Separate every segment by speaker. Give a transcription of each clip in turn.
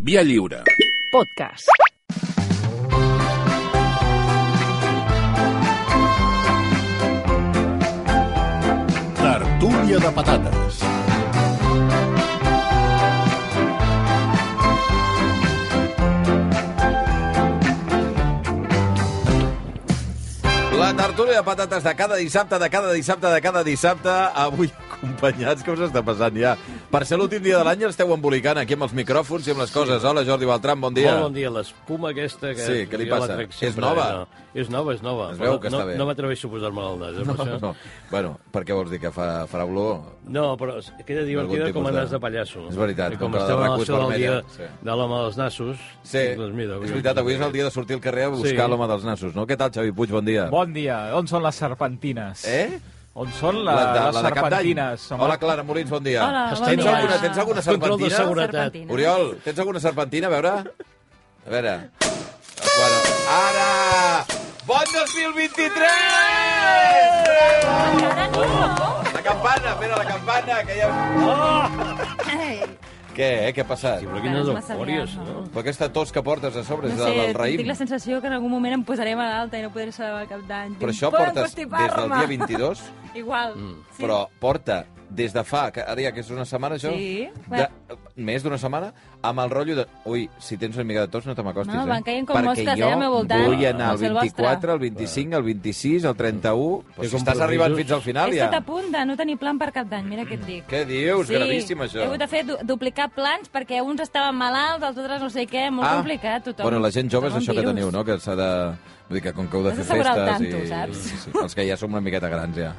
Speaker 1: Via lliure.
Speaker 2: Podcast.
Speaker 1: Tertúlia de patates.
Speaker 3: La tertúlia de patates de cada dissabte, de cada dissabte, de cada dissabte, avui acompanyats, que us està passant ja? Per ser l'últim dia de l'any esteu embolicant aquí amb els micròfons i amb les coses. Hola, Jordi Beltran, bon dia.
Speaker 4: Molt bon dia. L'espuma aquesta que...
Speaker 3: Sí, què li
Speaker 4: jo la
Speaker 3: passa?
Speaker 4: trec
Speaker 3: És
Speaker 4: sempre, eh,
Speaker 3: nova?
Speaker 4: No. És nova, és nova.
Speaker 3: Es veu que
Speaker 4: no,
Speaker 3: està bé.
Speaker 4: No m'atreveixo a posar-me-la al nas, eh, no, això.
Speaker 3: No. Bueno, per què vols dir que fa, farà olor?
Speaker 4: No, però es- queda divertida
Speaker 3: tipus
Speaker 4: com a
Speaker 3: de-
Speaker 4: nas de pallasso.
Speaker 3: És veritat,
Speaker 4: I
Speaker 3: com
Speaker 4: com
Speaker 3: la de
Speaker 4: estem a
Speaker 3: Racó és
Speaker 4: l'hora del dia
Speaker 3: vermella, sí.
Speaker 4: de l'home dels nassos,
Speaker 3: Sí,
Speaker 4: doncs mira, avui-
Speaker 3: és veritat, avui és el dia de sortir al carrer a buscar
Speaker 4: Sí.
Speaker 3: l'home dels nassos, no? Què tal, Xavi Puig? Bon dia.
Speaker 5: Bon dia. On són les serpentines?
Speaker 3: Eh?
Speaker 5: On són la,
Speaker 3: de-
Speaker 5: les
Speaker 3: de Cap d'Any.
Speaker 5: serpentines? home?
Speaker 3: Hola, Clara Molins, bon dia.
Speaker 6: Hola, bon
Speaker 3: tens
Speaker 6: dia.
Speaker 3: Alguna, tens alguna
Speaker 4: Control de
Speaker 3: serpentina?
Speaker 4: seguretat.
Speaker 6: Serpentina.
Speaker 3: Oriol, tens alguna serpentina, a veure? A veure... Bueno, ara! Bon 2023! La campana, espera, la campana, que ja... Què, eh? Què ha passat?
Speaker 4: Sí, però quines
Speaker 6: Ara és massa
Speaker 4: eufòries,
Speaker 6: aviat,
Speaker 4: no?
Speaker 3: Però aquesta tos que portes a sobre
Speaker 6: No
Speaker 3: és
Speaker 6: sé,
Speaker 3: del raïm.
Speaker 6: tinc la sensació que en algun moment em posaré malalta i no podré celebrar cap d'any.
Speaker 3: Però això
Speaker 6: Puc
Speaker 3: portes des del
Speaker 6: constipar-me.
Speaker 3: dia 22,
Speaker 6: Igual. Sí.
Speaker 3: però porta des de fa, que ara ja que és una setmana, això,
Speaker 6: Sí.
Speaker 3: de, més d'una setmana, amb el rotllo de... Ui, si tens una mica de tos no te m'acostis,
Speaker 6: No,
Speaker 3: eh?
Speaker 6: van caient com
Speaker 3: Perquè
Speaker 6: mosques,
Speaker 3: jo
Speaker 6: eh, al meu voltant.
Speaker 3: vull anar
Speaker 6: No
Speaker 3: al
Speaker 6: sé el vostre.
Speaker 3: 24, al 25, al 26, al 31... Però si estàs
Speaker 4: compromisos.
Speaker 3: arribant fins al final,
Speaker 6: És tota
Speaker 3: ja.
Speaker 6: tot a punt de no tenir plan per cap d'any, mira què et dic.
Speaker 3: Què dius? Gravíssim, això.
Speaker 6: He hagut de fer du duplicar plans perquè uns estaven malalts, els altres no sé què, molt complicat, tothom.
Speaker 3: Ah. Bueno, la gent jove és
Speaker 6: tothom
Speaker 3: això
Speaker 6: un
Speaker 3: que
Speaker 6: virus.
Speaker 3: teniu, no? Que s'ha de... Vull dir que com que heu de
Speaker 6: Has
Speaker 3: fer
Speaker 6: d'assegurar
Speaker 3: festes... i...
Speaker 6: el tanto, saps?
Speaker 3: Sí, els que ja som una miqueta grans, ja.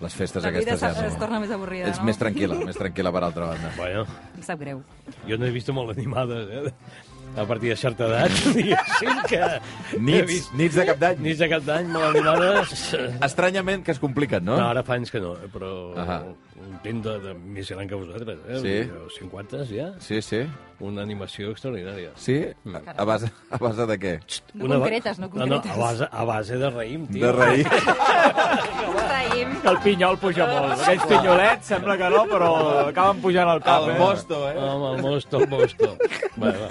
Speaker 3: Les festes
Speaker 6: La vida
Speaker 3: aquestes ja
Speaker 6: es- es torna més avorrida,
Speaker 3: Ets
Speaker 6: no?
Speaker 3: més tranquil·la, més tranquil·la per altra banda.
Speaker 4: Bueno,
Speaker 6: Em sap greu.
Speaker 4: jo n'he vist molt animades, eh? A partir de certa edat, diguéssim que... he
Speaker 3: Nits,
Speaker 4: vist
Speaker 3: nits de cap d'any.
Speaker 4: Nits de cap d'any molt animades.
Speaker 3: Estranyament que es compliquen, no?
Speaker 4: No, ara fa anys que no, eh, però
Speaker 3: Ah. Ahà.
Speaker 4: un tint de, de més gran que vosaltres, eh?
Speaker 3: Sí.
Speaker 4: Els 50 ja.
Speaker 3: Sí, sí.
Speaker 4: Una animació extraordinària.
Speaker 3: Sí? A, a, base, a base de què?
Speaker 6: No
Speaker 4: ba-
Speaker 6: concretes, no concretes.
Speaker 4: No, no, a base, a base de raïm, tio.
Speaker 3: De raïm.
Speaker 6: Raïm.
Speaker 5: El pinyol puja molt. Aquells pinyolets, sembla que no, però acaben pujant al cap.
Speaker 3: El
Speaker 5: eh?
Speaker 3: mosto, eh?
Speaker 4: Home, el mosto, el mosto. va, va.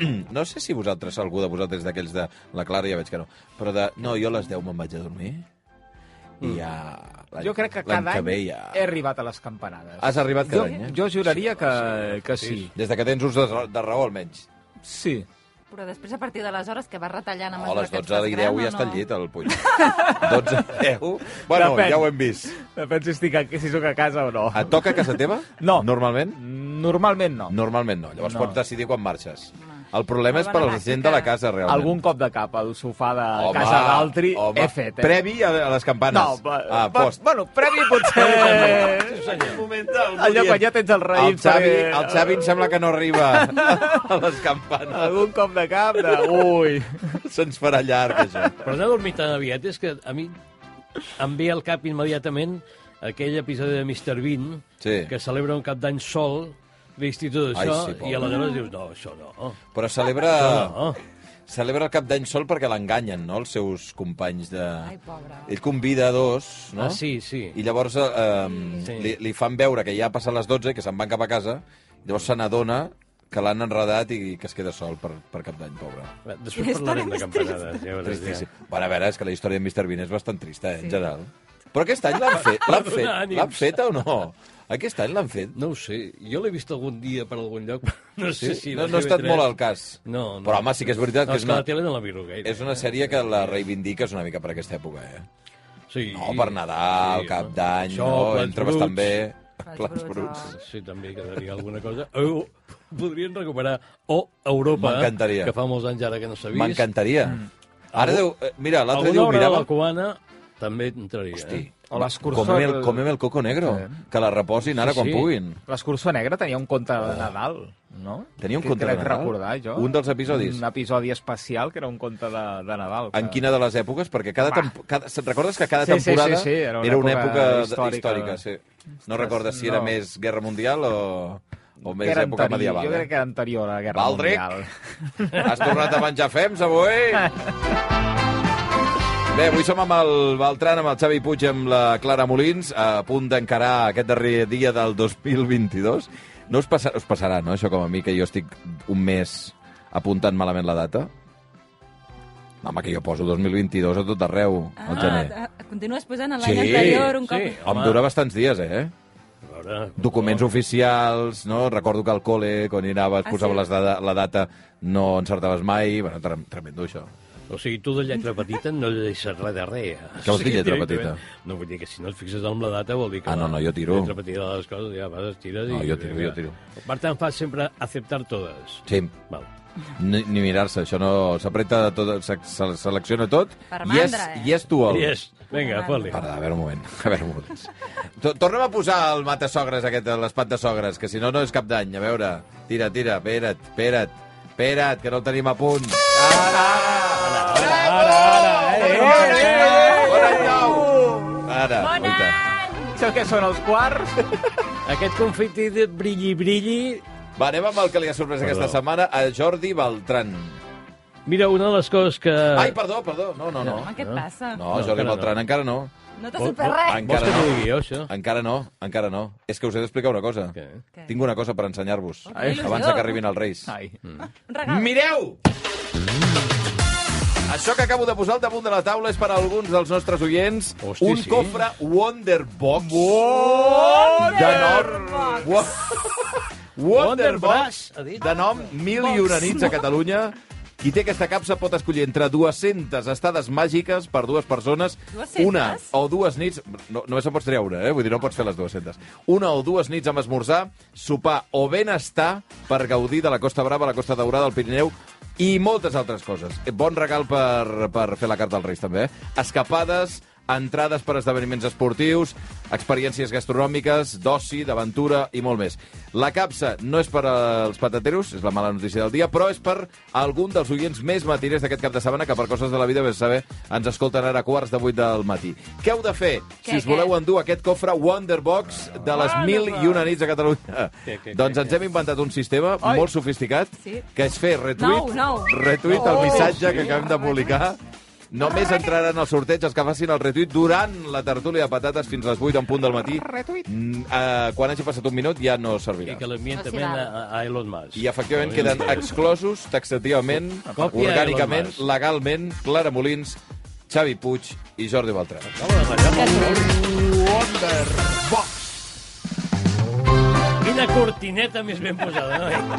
Speaker 3: Mm, No sé si vosaltres, algú de vosaltres d'aquells de... La Clara ja veig que no. Però de... No, jo a les 10 me'n vaig a dormir. I ja... l'any-
Speaker 5: Mm. Jo crec que
Speaker 3: l'any
Speaker 5: cada
Speaker 3: que ve
Speaker 5: any
Speaker 3: ja...
Speaker 5: he arribat a les campanades.
Speaker 3: Has arribat cada
Speaker 5: jo,
Speaker 3: any, eh?
Speaker 5: Jo juraria que, que sí.
Speaker 3: Des de que tens ús de, ra- de raó, almenys.
Speaker 5: Sí.
Speaker 6: Però després, a partir de les hores que vas retallant a
Speaker 3: No, a
Speaker 6: mesura
Speaker 3: les
Speaker 6: que et
Speaker 3: 12
Speaker 6: fas
Speaker 3: i 10 ja
Speaker 6: gran, o
Speaker 3: està
Speaker 6: no?
Speaker 3: al llit, el Puig. 12 i 10... Bueno,
Speaker 5: Depèn.
Speaker 3: ja ho hem vist.
Speaker 5: Depèn si, estic a, si sóc a casa o no.
Speaker 3: Et toca a casa teva?
Speaker 5: No.
Speaker 3: Normalment?
Speaker 5: Normalment no.
Speaker 3: Normalment no. Llavors
Speaker 5: No.
Speaker 3: pots decidir quan marxes. El problema
Speaker 6: Molt
Speaker 3: és per
Speaker 6: bona
Speaker 3: la gent
Speaker 6: pràctica.
Speaker 3: de la casa, realment.
Speaker 5: Algun cop de cap al sofà de casa d'altri
Speaker 3: home.
Speaker 5: he fet, eh?
Speaker 3: Previ a, a les campanes.
Speaker 5: No, va,
Speaker 3: ah,
Speaker 5: va,
Speaker 3: post.
Speaker 5: bueno, previ potser... Allò quan ja tens el raïm...
Speaker 3: El Xavi,
Speaker 5: perquè-
Speaker 3: el Xavi em sembla que no arriba a les campanes.
Speaker 5: Algun cop de cap de... Ui...
Speaker 3: Se'ns farà llarg, això.
Speaker 4: Però anar a dormir tan aviat és que a mi em ve al cap immediatament aquell episodi de Mr. Bean
Speaker 3: Sí.
Speaker 4: que celebra un cap d'any sol vestit tot
Speaker 3: Ai,
Speaker 4: això
Speaker 3: sí, pobre.
Speaker 4: i aleshores dius, no, això no.
Speaker 3: Però celebra,
Speaker 4: no.
Speaker 3: celebra el cap d'any sol perquè l'enganyen, no?, els seus companys de...
Speaker 6: Ai, pobre.
Speaker 3: Ell convida dos, no?
Speaker 4: Ah, sí, sí.
Speaker 3: I llavors eh,
Speaker 4: Sí.
Speaker 3: li, li fan veure que ja ha passat les 12 i que se'n van cap a casa. Llavors se n'adona que l'han enredat i que es queda sol per, per cap d'any, pobre.
Speaker 4: Va, Després parlarem de campanades. Ja veuràs, ja.
Speaker 3: Tristíssim. Bueno, a veure, és que la història de Mr. Bean és bastant trista, eh, en general. Però aquest any l'han fet, l'han
Speaker 4: Donar
Speaker 3: fet,
Speaker 4: ànims.
Speaker 3: l'han fet o no? Aquest any l'han fet?
Speaker 4: No ho sé, jo l'he vist algun dia per algun lloc, però no sé si...
Speaker 3: no,
Speaker 4: la
Speaker 3: no ha estat
Speaker 4: TV3.
Speaker 3: molt al cas.
Speaker 4: No, no.
Speaker 3: Però home, sí que és veritat
Speaker 4: no,
Speaker 3: que és una,
Speaker 4: la tele no la miro gaire.
Speaker 3: és una sèrie que la reivindiques una mica per aquesta època, eh?
Speaker 4: Sí.
Speaker 3: No, per Nadal,
Speaker 4: Sí,
Speaker 3: Cap
Speaker 4: home.
Speaker 3: d'Any,
Speaker 4: Això,
Speaker 3: no,
Speaker 4: plats
Speaker 3: entra
Speaker 4: bruts.
Speaker 3: bastant bé.
Speaker 6: Plats
Speaker 3: Plats
Speaker 6: bruts,
Speaker 3: bruts.
Speaker 6: home.
Speaker 4: Sí, també hi quedaria alguna cosa. O podrien recuperar o Europa,
Speaker 3: M'encantaria.
Speaker 4: que fa molts anys ara que no s'ha vist.
Speaker 3: M'encantaria.
Speaker 5: Mm.
Speaker 3: Ara deu... eh, Mira, l'altre dia
Speaker 4: Alguna
Speaker 3: ho
Speaker 4: obra de
Speaker 3: mirava...
Speaker 4: la cubana també entraria.
Speaker 3: Hosti,
Speaker 4: Eh?
Speaker 5: O les cursor-
Speaker 3: comem el, comem el coco negro, que la reposin ara
Speaker 4: Sí,
Speaker 3: quan
Speaker 4: sí.
Speaker 3: puguin.
Speaker 5: L'escurçó negra tenia un conte de Nadal, no?
Speaker 3: Oh. Tenia un
Speaker 5: Que
Speaker 3: conte de
Speaker 5: crec
Speaker 3: Nadal?
Speaker 5: recordar, jo.
Speaker 3: Un dels episodis?
Speaker 5: Un episodi especial que era un conte de, de Nadal. Que...
Speaker 3: En quina de les èpoques? Perquè cada,
Speaker 5: Va.
Speaker 3: tempo, cada se't recordes que cada
Speaker 5: Sí, sí,
Speaker 3: temporada
Speaker 5: sí, sí, era una època
Speaker 3: època
Speaker 5: històrica.
Speaker 3: històrica sí. No recordes si era
Speaker 5: no.
Speaker 3: més Guerra Mundial o, o més
Speaker 5: era
Speaker 3: època
Speaker 5: anterior,
Speaker 3: medieval.
Speaker 5: Jo
Speaker 3: eh?
Speaker 5: crec que era anterior a la Guerra
Speaker 3: Baldric?
Speaker 5: Mundial.
Speaker 3: Has tornat a menjar fems, avui? Bé, avui som amb el Beltran, amb el Xavi Puig, amb la Clara Molins, a punt d'encarar aquest darrer dia del 2022. No us, passa, us passarà, no, això com a mi, que jo estic un mes apuntant malament la data? Home, que jo poso 2022 a tot arreu, al gener.
Speaker 6: Ah, t- continues posant a
Speaker 3: Sí.
Speaker 6: l'any anterior
Speaker 4: Sí.
Speaker 6: un cop...
Speaker 3: Em dura bastants dies, eh?
Speaker 4: A veure,
Speaker 3: Documents oficials, no? Recordo que al col·le, quan hi anaves,
Speaker 6: Ah,
Speaker 3: posava
Speaker 6: sí?
Speaker 3: les dada, la data, no encertaves mai. Bueno, tre- tremendo, això.
Speaker 4: O sigui, tu de lletra petita no llegeixes res de res.
Speaker 3: Què vols dir,
Speaker 4: Sí,
Speaker 3: lletra
Speaker 4: directament.
Speaker 3: petita?
Speaker 4: No, vull dir que si no et fixes en la data vol dir que...
Speaker 3: Ah, no,
Speaker 4: la
Speaker 3: no, jo tiro.
Speaker 4: Lletra petita de les coses, ja vas, estires
Speaker 3: No,
Speaker 4: i...
Speaker 3: jo tiro, jo tiro.
Speaker 4: Per tant, fas sempre acceptar totes.
Speaker 3: Sí,
Speaker 4: Val.
Speaker 3: ni, ni mirar-se, això no... S'apreta de tot, se, se, selecciona tot.
Speaker 6: Per
Speaker 3: i és,
Speaker 6: mandra, eh?
Speaker 3: I és tu el...
Speaker 4: Yes. Vinga, fot-li.
Speaker 3: Perdó, a veure un moment, a veure un moment. To- Torna'm a posar el matasogres aquest, l'espat de sogres, que si no, no és cap d'any. A veure, tira, tira, espera't, espera't, espera't, que no el tenim a punt. Ara!
Speaker 5: Ara, ara, eh, eh, eh, eh.
Speaker 3: Bon any nou! Ara,
Speaker 6: Bon
Speaker 3: guaita.
Speaker 6: any!
Speaker 5: Això què són, els quarts?
Speaker 4: Aquest conflicte de brilli-brilli...
Speaker 3: Va, anem amb el que li ha sorprès
Speaker 4: Perdó.
Speaker 3: aquesta setmana a Jordi Beltran.
Speaker 4: Mira, una de les coses que...
Speaker 3: Ai, perdó, perdó, no, no, no.
Speaker 6: Home, què et passa?
Speaker 3: Ah, No, Jordi
Speaker 4: Eh. encara no.
Speaker 3: Beltran encara no.
Speaker 6: No t'ha
Speaker 4: Vol-
Speaker 6: superat
Speaker 4: vol-
Speaker 6: res.
Speaker 4: Vols
Speaker 3: Encara
Speaker 4: que t'ho
Speaker 3: no.
Speaker 4: digui jo, això?
Speaker 3: Encara no, encara no. És que us he d'explicar una cosa.
Speaker 4: Què?
Speaker 6: Què?
Speaker 3: Tinc una cosa per ensenyar-vos.
Speaker 6: Oh, que il·lusió.
Speaker 3: Abans de que arribin els Reis.
Speaker 5: Ai.
Speaker 3: Mm.
Speaker 6: Un regal.
Speaker 3: Mireu! Això que acabo de posar al damunt de la taula és per a alguns dels nostres oients
Speaker 4: Hosti,
Speaker 3: un
Speaker 4: sí.
Speaker 3: cofre Wonderbox de nom...
Speaker 6: Wonderbox.
Speaker 3: Wonderbox
Speaker 4: Wonderbox, ha dit?
Speaker 3: de nom Mil i una nits a Catalunya. Qui té aquesta capsa pot escollir entre 200 estades màgiques per dues persones,
Speaker 6: 200?
Speaker 3: una o dues nits... No, només en pots treure, eh? Vull dir, no pots fer les 200. Una o dues nits amb esmorzar, sopar o benestar per gaudir de la Costa Brava, la Costa Daurada, el Pirineu i moltes altres coses. Eh, Bon regal per, per fer la carta als Reis, també. Eh? Escapades, entrades per esdeveniments esportius, experiències gastronòmiques, d'oci, d'aventura i molt més. La capsa no és per als patateros, és la mala notícia del dia, però és per algun dels oients més matiners d'aquest cap de setmana que per coses de la vida, vés a saber, ens escolten ara a quarts de vuit del matí. Què heu de fer
Speaker 6: Què,
Speaker 3: si us
Speaker 6: què?
Speaker 3: voleu endur aquest cofre Wonderbox de les mil i una nits a Catalunya?
Speaker 4: Què, què,
Speaker 3: Doncs ens hem inventat un sistema molt sofisticat
Speaker 6: Sí.
Speaker 3: que és fer retuit,
Speaker 6: Nou, nou. Oh.
Speaker 3: retuit el missatge que acabem de publicar Només entraran al sorteig els que facin el retuit durant la tertúlia de patates fins a les 8 en punt del matí. Retuit. Uh, quan hagi passat un minut ja no servirà.
Speaker 4: I que l'envien
Speaker 6: No s'hi
Speaker 4: també
Speaker 6: val.
Speaker 4: a, a Elon Musk.
Speaker 3: I efectivament queden exclosos taxativament,
Speaker 4: Còpia
Speaker 3: orgànicament,
Speaker 4: Elon Musk.
Speaker 3: legalment, Clara Molins, Xavi Puig i Jordi Beltrán.
Speaker 4: Quina cortineta més ben posada, no?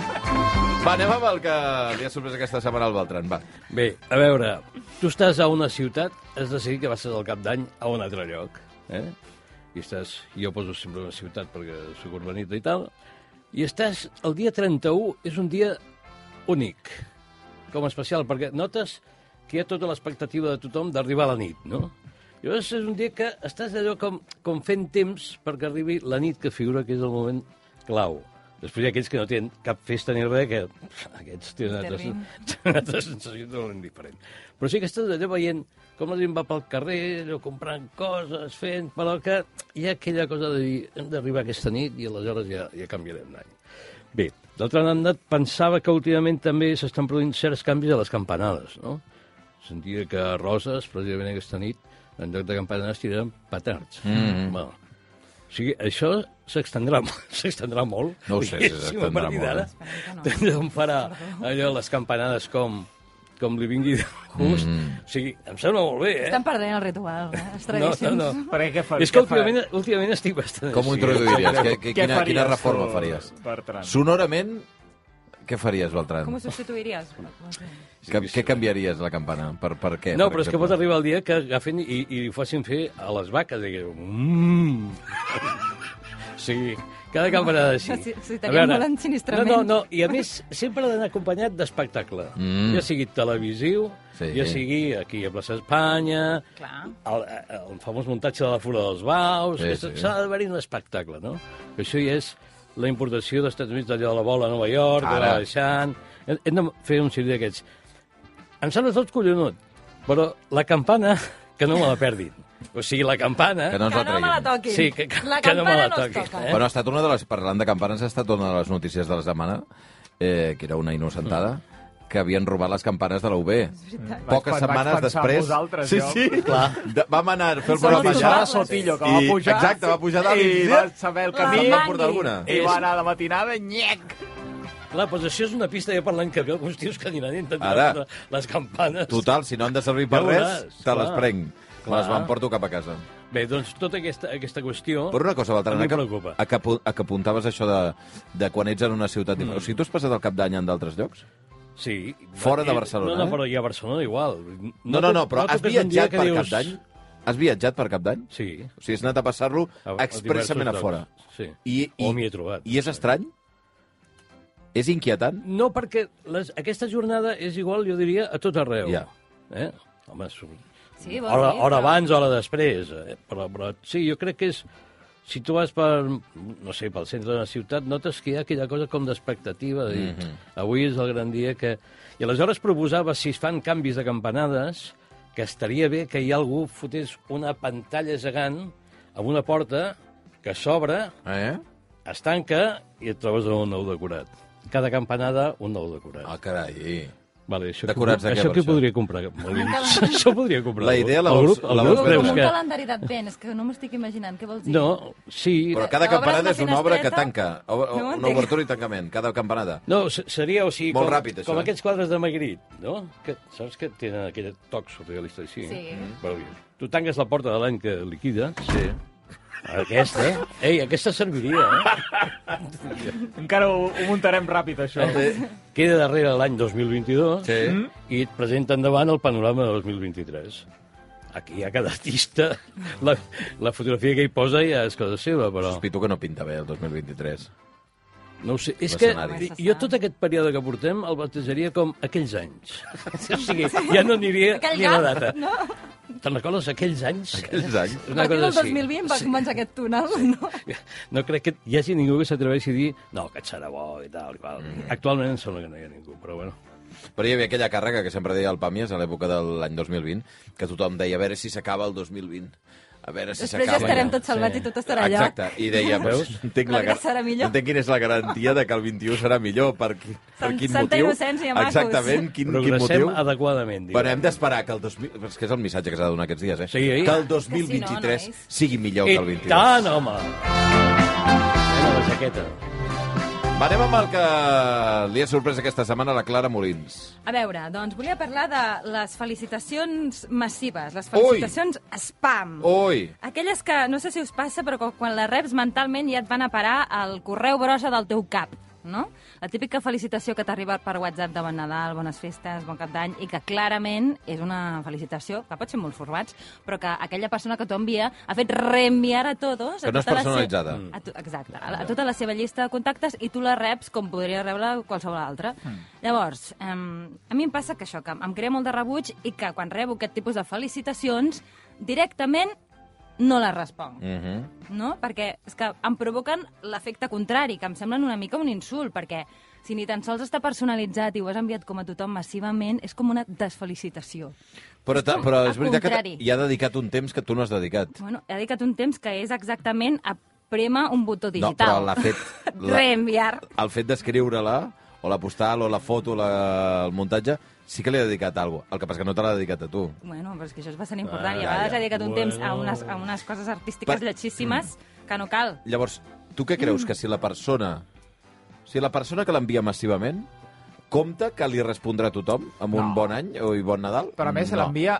Speaker 3: Va, anem amb el que li ha sorprès aquesta setmana al Beltrán, va.
Speaker 4: Bé, a veure, tu estàs a una ciutat, has decidit que vas al cap d'any a un altre lloc, eh? I estàs, jo poso sempre una ciutat perquè soc urbanita i tal, i estàs, el dia 31 és un dia únic, com a especial, perquè notes que hi ha tota l'expectativa de tothom d'arribar a la nit, no? Llavors és un dia que estàs allò com, com fent temps perquè arribi la nit que figura que és el moment clau. Després hi ha aquells que no tenen cap festa ni res, que pff, aquests tenen una altra,
Speaker 6: Intervin.
Speaker 4: tenen una altra sensació totalment diferent. Però sí que estàs allò veient com la gent va pel carrer, allò comprant coses, fent, però que hi ha aquella cosa de dir hem d'arribar aquesta nit i aleshores ja, ja canviarem l'any. Bé, d'altra banda, pensava que últimament també s'estan produint certs canvis a les campanades, no? Sentia que a Roses, precisament aquesta nit, en lloc de campanades tiraran petards.
Speaker 3: Mm-hmm.
Speaker 4: Mm. Bueno, o sigui, això s'extendrà mo- s'extendrà molt.
Speaker 3: No ho sé si
Speaker 4: diguéssim, a
Speaker 3: s'extendrà
Speaker 4: partir
Speaker 3: molt,
Speaker 4: d'ara.
Speaker 3: eh?
Speaker 4: Tothom farà allò, les campanades com, com li vingui de gust.
Speaker 3: Mm-hmm.
Speaker 4: Mm. O sigui, em sembla molt bé, eh?
Speaker 6: Estan perdent el ritual, eh? els
Speaker 4: No, no,
Speaker 6: tradicions.
Speaker 4: no.
Speaker 5: Per què fa-
Speaker 4: És que
Speaker 5: què fa-
Speaker 4: últimament, últimament estic bastant
Speaker 3: Com ho
Speaker 4: així. eh?
Speaker 3: introduiries? Que, que,
Speaker 5: Què
Speaker 3: quina,
Speaker 5: faries
Speaker 3: quina reforma
Speaker 5: tu,
Speaker 3: faries?
Speaker 5: Bertran?
Speaker 3: Sonorament, què faries, Beltrán?
Speaker 6: Com ho substituiries?
Speaker 3: Que, què canviaries, la campana? Per, per què?
Speaker 4: No,
Speaker 3: per
Speaker 4: però és que
Speaker 3: exemple?
Speaker 4: pot arribar el dia que agafin i, i ho facin fer a les vaques. Digueu, mmm. sí, cada campanada així.
Speaker 6: Sí, sí, estaria
Speaker 4: A veure,
Speaker 6: molt ensinistrament.
Speaker 4: No, no, no, i a més sempre ha d'anar acompanyat d'espectacle.
Speaker 3: Mm.
Speaker 4: Ja sigui televisiu,
Speaker 3: Sí.
Speaker 4: sí. ja sigui aquí a plaça Espanya,
Speaker 6: Clar.
Speaker 4: el, el famós muntatge de la Fura dels Baus,
Speaker 3: Sí,
Speaker 4: sí,
Speaker 3: sí.
Speaker 4: s'ha d'haver-hi un espectacle, no? Que això ja és la importació dels Estats Units d'allò de la bola a Nova York, de
Speaker 3: Ara.
Speaker 4: la deixant... Hem hem de fer un circuit d'aquests. Em sembla tot collonut, però la campana, que no me la perdin. O sigui, la campana...
Speaker 3: Que no ens
Speaker 6: Que
Speaker 3: la
Speaker 6: no me
Speaker 3: treguin.
Speaker 6: la toquin.
Speaker 4: Sí, que- que-
Speaker 6: la
Speaker 4: que no me
Speaker 6: campana
Speaker 4: la
Speaker 6: no es
Speaker 4: toquin,
Speaker 6: toca.
Speaker 4: eh?
Speaker 3: Bueno, ha estat una de les... Parlant de campanes, ha estat una de les notícies de la setmana, eh, que era una innocentada, que havien robat les campanes de la UB. Poques
Speaker 5: Vaig- vaig pensar
Speaker 3: setmanes
Speaker 5: en
Speaker 3: després...
Speaker 5: vosaltres,
Speaker 3: sí,
Speaker 5: jo.
Speaker 3: sí, clar. De, vam anar a fer el
Speaker 6: Són
Speaker 3: programa
Speaker 6: els
Speaker 3: allà.
Speaker 6: robables.
Speaker 5: Sotillo, que va
Speaker 3: i-
Speaker 5: pujar.
Speaker 3: exacte, va pujar Ah, dalt
Speaker 5: I
Speaker 3: i- "Eh,
Speaker 5: va saber el camí.
Speaker 3: Se'n
Speaker 6: Mangui.
Speaker 3: van portar alguna.
Speaker 5: I va anar de matinada, nyec!
Speaker 4: Clar, doncs això és una pista ja per l'any que ve, alguns tios que aniran intentant
Speaker 3: Ara.
Speaker 4: fotre les campanes.
Speaker 3: Total, si no han de servir per
Speaker 4: Ja veuràs,
Speaker 3: res, te les
Speaker 4: clar.
Speaker 3: prenc. Me les
Speaker 4: Clar.
Speaker 3: m'emporto cap a casa.
Speaker 4: Bé, doncs tota aquesta, aquesta qüestió...
Speaker 3: Però una cosa, Beltran,
Speaker 4: A mi
Speaker 3: a que,
Speaker 4: preocupa.
Speaker 3: a, que, apu- a que apuntaves això de, de quan ets en una ciutat... Mm. O sigui, tu has passat el cap d'any en d'altres llocs?
Speaker 4: Sí.
Speaker 3: Fora de Barcelona,
Speaker 4: No,
Speaker 3: eh?
Speaker 4: no, però i a Barcelona igual.
Speaker 3: No, no, no, però
Speaker 4: tu
Speaker 3: has
Speaker 4: que és un dia
Speaker 3: viatjat
Speaker 4: que
Speaker 3: per cap d'any? Has viatjat per cap d'any?
Speaker 4: Sí.
Speaker 3: O sigui, has anat a passar-lo
Speaker 4: a- a
Speaker 3: expressament a
Speaker 4: diversos
Speaker 3: fora.
Speaker 4: llocs, Sí.
Speaker 3: I, i,
Speaker 4: O m'hi he trobat.
Speaker 3: I és estrany? És inquietant?
Speaker 4: No, perquè les, aquesta jornada és igual, jo diria, a tot arreu.
Speaker 3: Ja.
Speaker 4: Eh? Home, som...
Speaker 6: Sí, vol
Speaker 4: hora,
Speaker 6: dir,
Speaker 4: hora
Speaker 6: però-
Speaker 4: abans, hora després. Eh? Però, però sí, jo crec que és... Si tu vas per, no sé, pel centre de la ciutat, notes que hi ha aquella cosa com d'expectativa, de dir, mm -hmm. avui és el gran dia que... I aleshores proposava, si es fan canvis de campanades, que estaria bé que hi ha algú fotés una pantalla gegant amb una porta que s'obre
Speaker 3: Eh?
Speaker 4: es tanca i et trobes amb un nou decorat. Cada campanada, un nou decorat.
Speaker 3: Ah, carai.
Speaker 4: Vale, això
Speaker 3: Decorats de
Speaker 4: qui,
Speaker 3: què,
Speaker 4: Això
Speaker 3: per
Speaker 4: qui
Speaker 3: això?
Speaker 4: podria comprar? Molt bé. això podria comprar.
Speaker 3: La
Speaker 4: algú.
Speaker 3: idea la
Speaker 4: El
Speaker 3: vols-
Speaker 4: grup, el
Speaker 3: la
Speaker 4: grup
Speaker 3: vols
Speaker 6: Com
Speaker 4: creus
Speaker 6: un
Speaker 4: que...
Speaker 6: calendari d'advent, és que no m'ho estic imaginant, què vols dir?
Speaker 4: No, sí.
Speaker 3: Però cada
Speaker 6: Obres
Speaker 3: campanada
Speaker 6: la
Speaker 3: és una obra que
Speaker 6: finestreta?
Speaker 3: tanca. O, o,
Speaker 6: No ho
Speaker 3: una
Speaker 6: entenc.
Speaker 3: obertura i tancament, cada campanada.
Speaker 4: No, se- seria, o sigui,
Speaker 3: Molt
Speaker 4: com,
Speaker 3: ràpid, això,
Speaker 4: com
Speaker 3: eh?
Speaker 4: aquests quadres de Magritte, no? Que, saps que tenen aquell toc surrealista així?
Speaker 6: Sí.
Speaker 4: Mm. Però, tu tanques la porta de l'any que liquida. Sí. Aquesta. Ei, aquesta serviria, eh?
Speaker 5: Encara ho, ho muntarem ràpid, això.
Speaker 3: Eh,
Speaker 4: Queda darrere l'any 2022
Speaker 3: Sí. Mm.
Speaker 4: i et presenta endavant el panorama de 2023. Aquí hi ha cada artista. La, la fotografia que hi posa ja és cosa seva, però...
Speaker 3: Sospito que no pinta bé el 2023.
Speaker 4: No ho sé. És que
Speaker 3: L'escenari.
Speaker 4: jo tot aquest període que portem el batejaria com aquells anys. o sigui, ja no aniria
Speaker 6: Aquell
Speaker 4: ni a la
Speaker 6: gap,
Speaker 4: data. No? Te'n recordes, aquells anys?
Speaker 3: Aquells anys.
Speaker 6: A partir del 2020 va començar aquest túnel, no?
Speaker 4: No crec que hi hagi ningú que s'atreveixi a dir no, que serà bo i tal. i qual.
Speaker 3: Mm.
Speaker 4: Actualment em sembla que no hi ha ningú, però bueno.
Speaker 3: Però hi havia aquella càrrega que sempre deia el Pàmies a l'època de l'any 2020, que tothom deia a veure si s'acaba el 2020. A veure si
Speaker 6: Després
Speaker 3: s'acaba.
Speaker 6: ja estarem
Speaker 3: no?"
Speaker 6: tots salvats i tot estarà allà.
Speaker 3: Exacte, i deia, veus? Entenc,
Speaker 6: L'altre serà millor.
Speaker 3: entenc quina és la garantia de que el 21 serà millor, per, qui, per
Speaker 6: Sant-
Speaker 3: quin
Speaker 6: Santa
Speaker 3: motiu.
Speaker 6: innocència, macos.
Speaker 3: Exactament, quin, quin
Speaker 4: Progressem
Speaker 3: motiu.
Speaker 4: adequadament, diguem.
Speaker 3: Bueno, hem d'esperar que el 2000... És que és el missatge que s'ha de donar aquests dies, eh?
Speaker 4: Sí, eh?
Speaker 3: que el
Speaker 6: Que
Speaker 3: 2023
Speaker 6: sí, no, nois.
Speaker 3: sigui millor que el
Speaker 4: I
Speaker 3: 22.
Speaker 4: tant, home! Mira la jaqueta.
Speaker 3: Va, anem amb el que li ha sorprès aquesta setmana a la Clara Molins.
Speaker 6: A veure, doncs volia parlar de les felicitacions massives, les
Speaker 3: Ui!
Speaker 6: felicitacions spam.
Speaker 3: Ui!
Speaker 6: Aquelles que, no sé si us passa, però que quan les reps mentalment ja et van a parar al correu brossa del teu cap, no? La típica felicitació que t'arriba per WhatsApp de bon Nadal, bones festes, bon cap d'any, i que clarament és una felicitació, que pot ser molt formats, però que aquella persona que t'ho envia ha fet reenviar a todos...
Speaker 3: Que no és
Speaker 6: tota la se-
Speaker 3: personalitzada.
Speaker 6: A tu, exacte, a, a tota la seva llista de contactes i tu la reps com podria rebre qualsevol altra.
Speaker 3: Hmm.
Speaker 6: Mm. Llavors, um, a mi em passa que això, que em crea molt de rebuig i que quan rebo aquest tipus de felicitacions, directament no la responc,
Speaker 3: Uh -huh.
Speaker 6: no? Perquè és que em provoquen l'efecte contrari, que em semblen una mica un insult, perquè si ni tan sols està personalitzat i ho has enviat com a tothom massivament, és com una desfelicitació.
Speaker 3: Però, ta, però és
Speaker 6: Al
Speaker 3: veritat que
Speaker 6: contrari.
Speaker 3: hi ha dedicat un temps que tu no has dedicat.
Speaker 6: Bueno, he dedicat un temps que és exactament a prema un botó digital.
Speaker 3: No, però l'ha fet... la-
Speaker 6: Reenviar.
Speaker 3: El fet d'escriure-la, o la postal, o la foto, la, el muntatge, sí que li ha dedicat alguna cosa. El que passa que no te l'ha dedicat a tu.
Speaker 6: Bueno, però és que això és bastant important.
Speaker 3: Ah,
Speaker 6: I
Speaker 3: ja,
Speaker 6: a vegades
Speaker 3: ja.
Speaker 6: he dedicat un
Speaker 4: Bueno.
Speaker 6: temps a unes, a unes coses artístiques
Speaker 3: Per-
Speaker 6: lletxíssimes que no cal.
Speaker 3: Llavors, tu què
Speaker 6: Mm.
Speaker 3: creus? Que si la persona... Si la persona que l'envia massivament compta que li respondrà a tothom amb un bon any o i bon Nadal?
Speaker 1: Però a més, se
Speaker 3: no.
Speaker 1: l'envia